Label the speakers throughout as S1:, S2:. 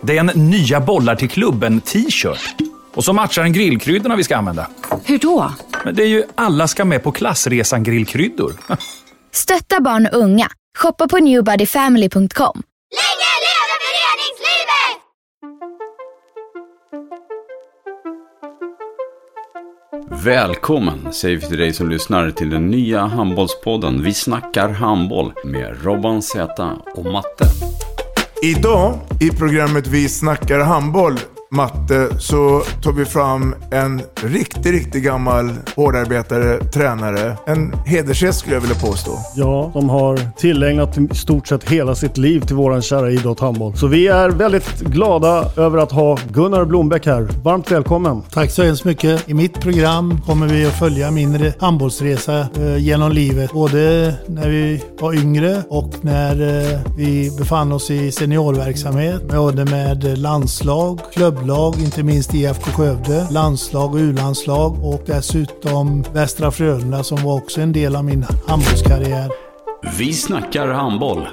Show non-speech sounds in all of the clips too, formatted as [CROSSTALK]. S1: Det är en nya bollar till klubben-t-shirt. Och så matchar den grillkryddorna vi ska använda.
S2: Hur då?
S1: Men det är ju alla ska med på klassresan grillkryddor. [LAUGHS]
S3: Stötta barn och unga. Shoppa på newbodyfamily.com.
S4: Länge leve föreningslivet!
S5: Välkommen säger vi till dig som lyssnar till den nya handbollspodden Vi snackar handboll med Robban Z och Matte.
S6: Idag i programmet Vi snackar handboll, Matte, så tog vi fram en riktigt, riktigt gammal hårdarbetare, tränare. En hedersgäst skulle jag vilja påstå.
S7: Ja, de har tillägnat i stort sett hela sitt liv till våran kära idrott handboll. Så vi är väldigt glada över att ha Gunnar Blombeck här. Varmt välkommen!
S8: Tack så hemskt mycket. I mitt program kommer vi att följa min re- handbollsresa eh, genom livet. Både när vi var yngre och när eh, vi befann oss i seniorverksamhet. Både med eh, landslag, klubblag, inte minst IFK Skövde, landslag och U-landslag och dessutom Västra Frölunda som var också en del av min handbollskarriär.
S5: Vi snackar handboll.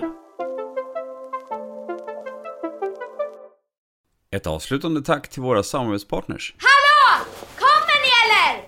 S5: Ett avslutande tack till våra samarbetspartners.
S4: Hallå! Kommer ni eller?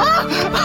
S9: Ah!